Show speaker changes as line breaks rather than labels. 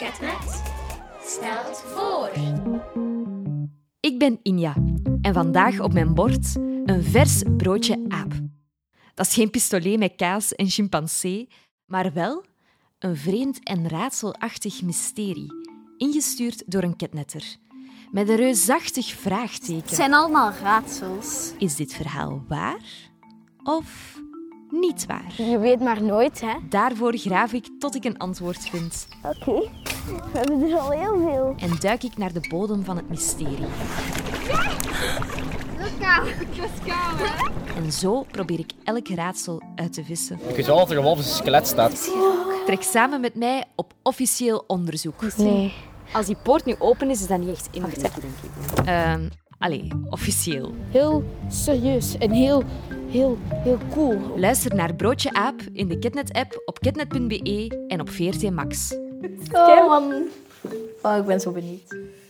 uitmaakt, stelt voor.
Ik ben Inja en vandaag op mijn bord een vers broodje aap. Dat is geen pistolet met kaas en chimpansee, maar wel een vreemd en raadselachtig mysterie, ingestuurd door een ketnetter. Met een reusachtig
Het
vraagteken.
zijn allemaal raadsels.
Is dit verhaal waar of niet waar?
Je weet maar nooit, hè?
Daarvoor graaf ik tot ik een antwoord vind
Oké, we hebben er al heel veel.
en duik ik naar de bodem van het mysterie. En zo probeer ik elk raadsel uit te vissen.
Ik weet wel dat er een wolf in zijn skelet staat.
Trek samen met mij op officieel onderzoek.
Nee.
Als die poort nu open is, is dat niet echt in denk ik. Ehm, allee, officieel.
Heel serieus en heel, heel, heel cool.
Luister naar Broodje Aap in de Kidnet-app op kidnet.be en op 14 Max.
Oh,
Oh, ik ben zo benieuwd.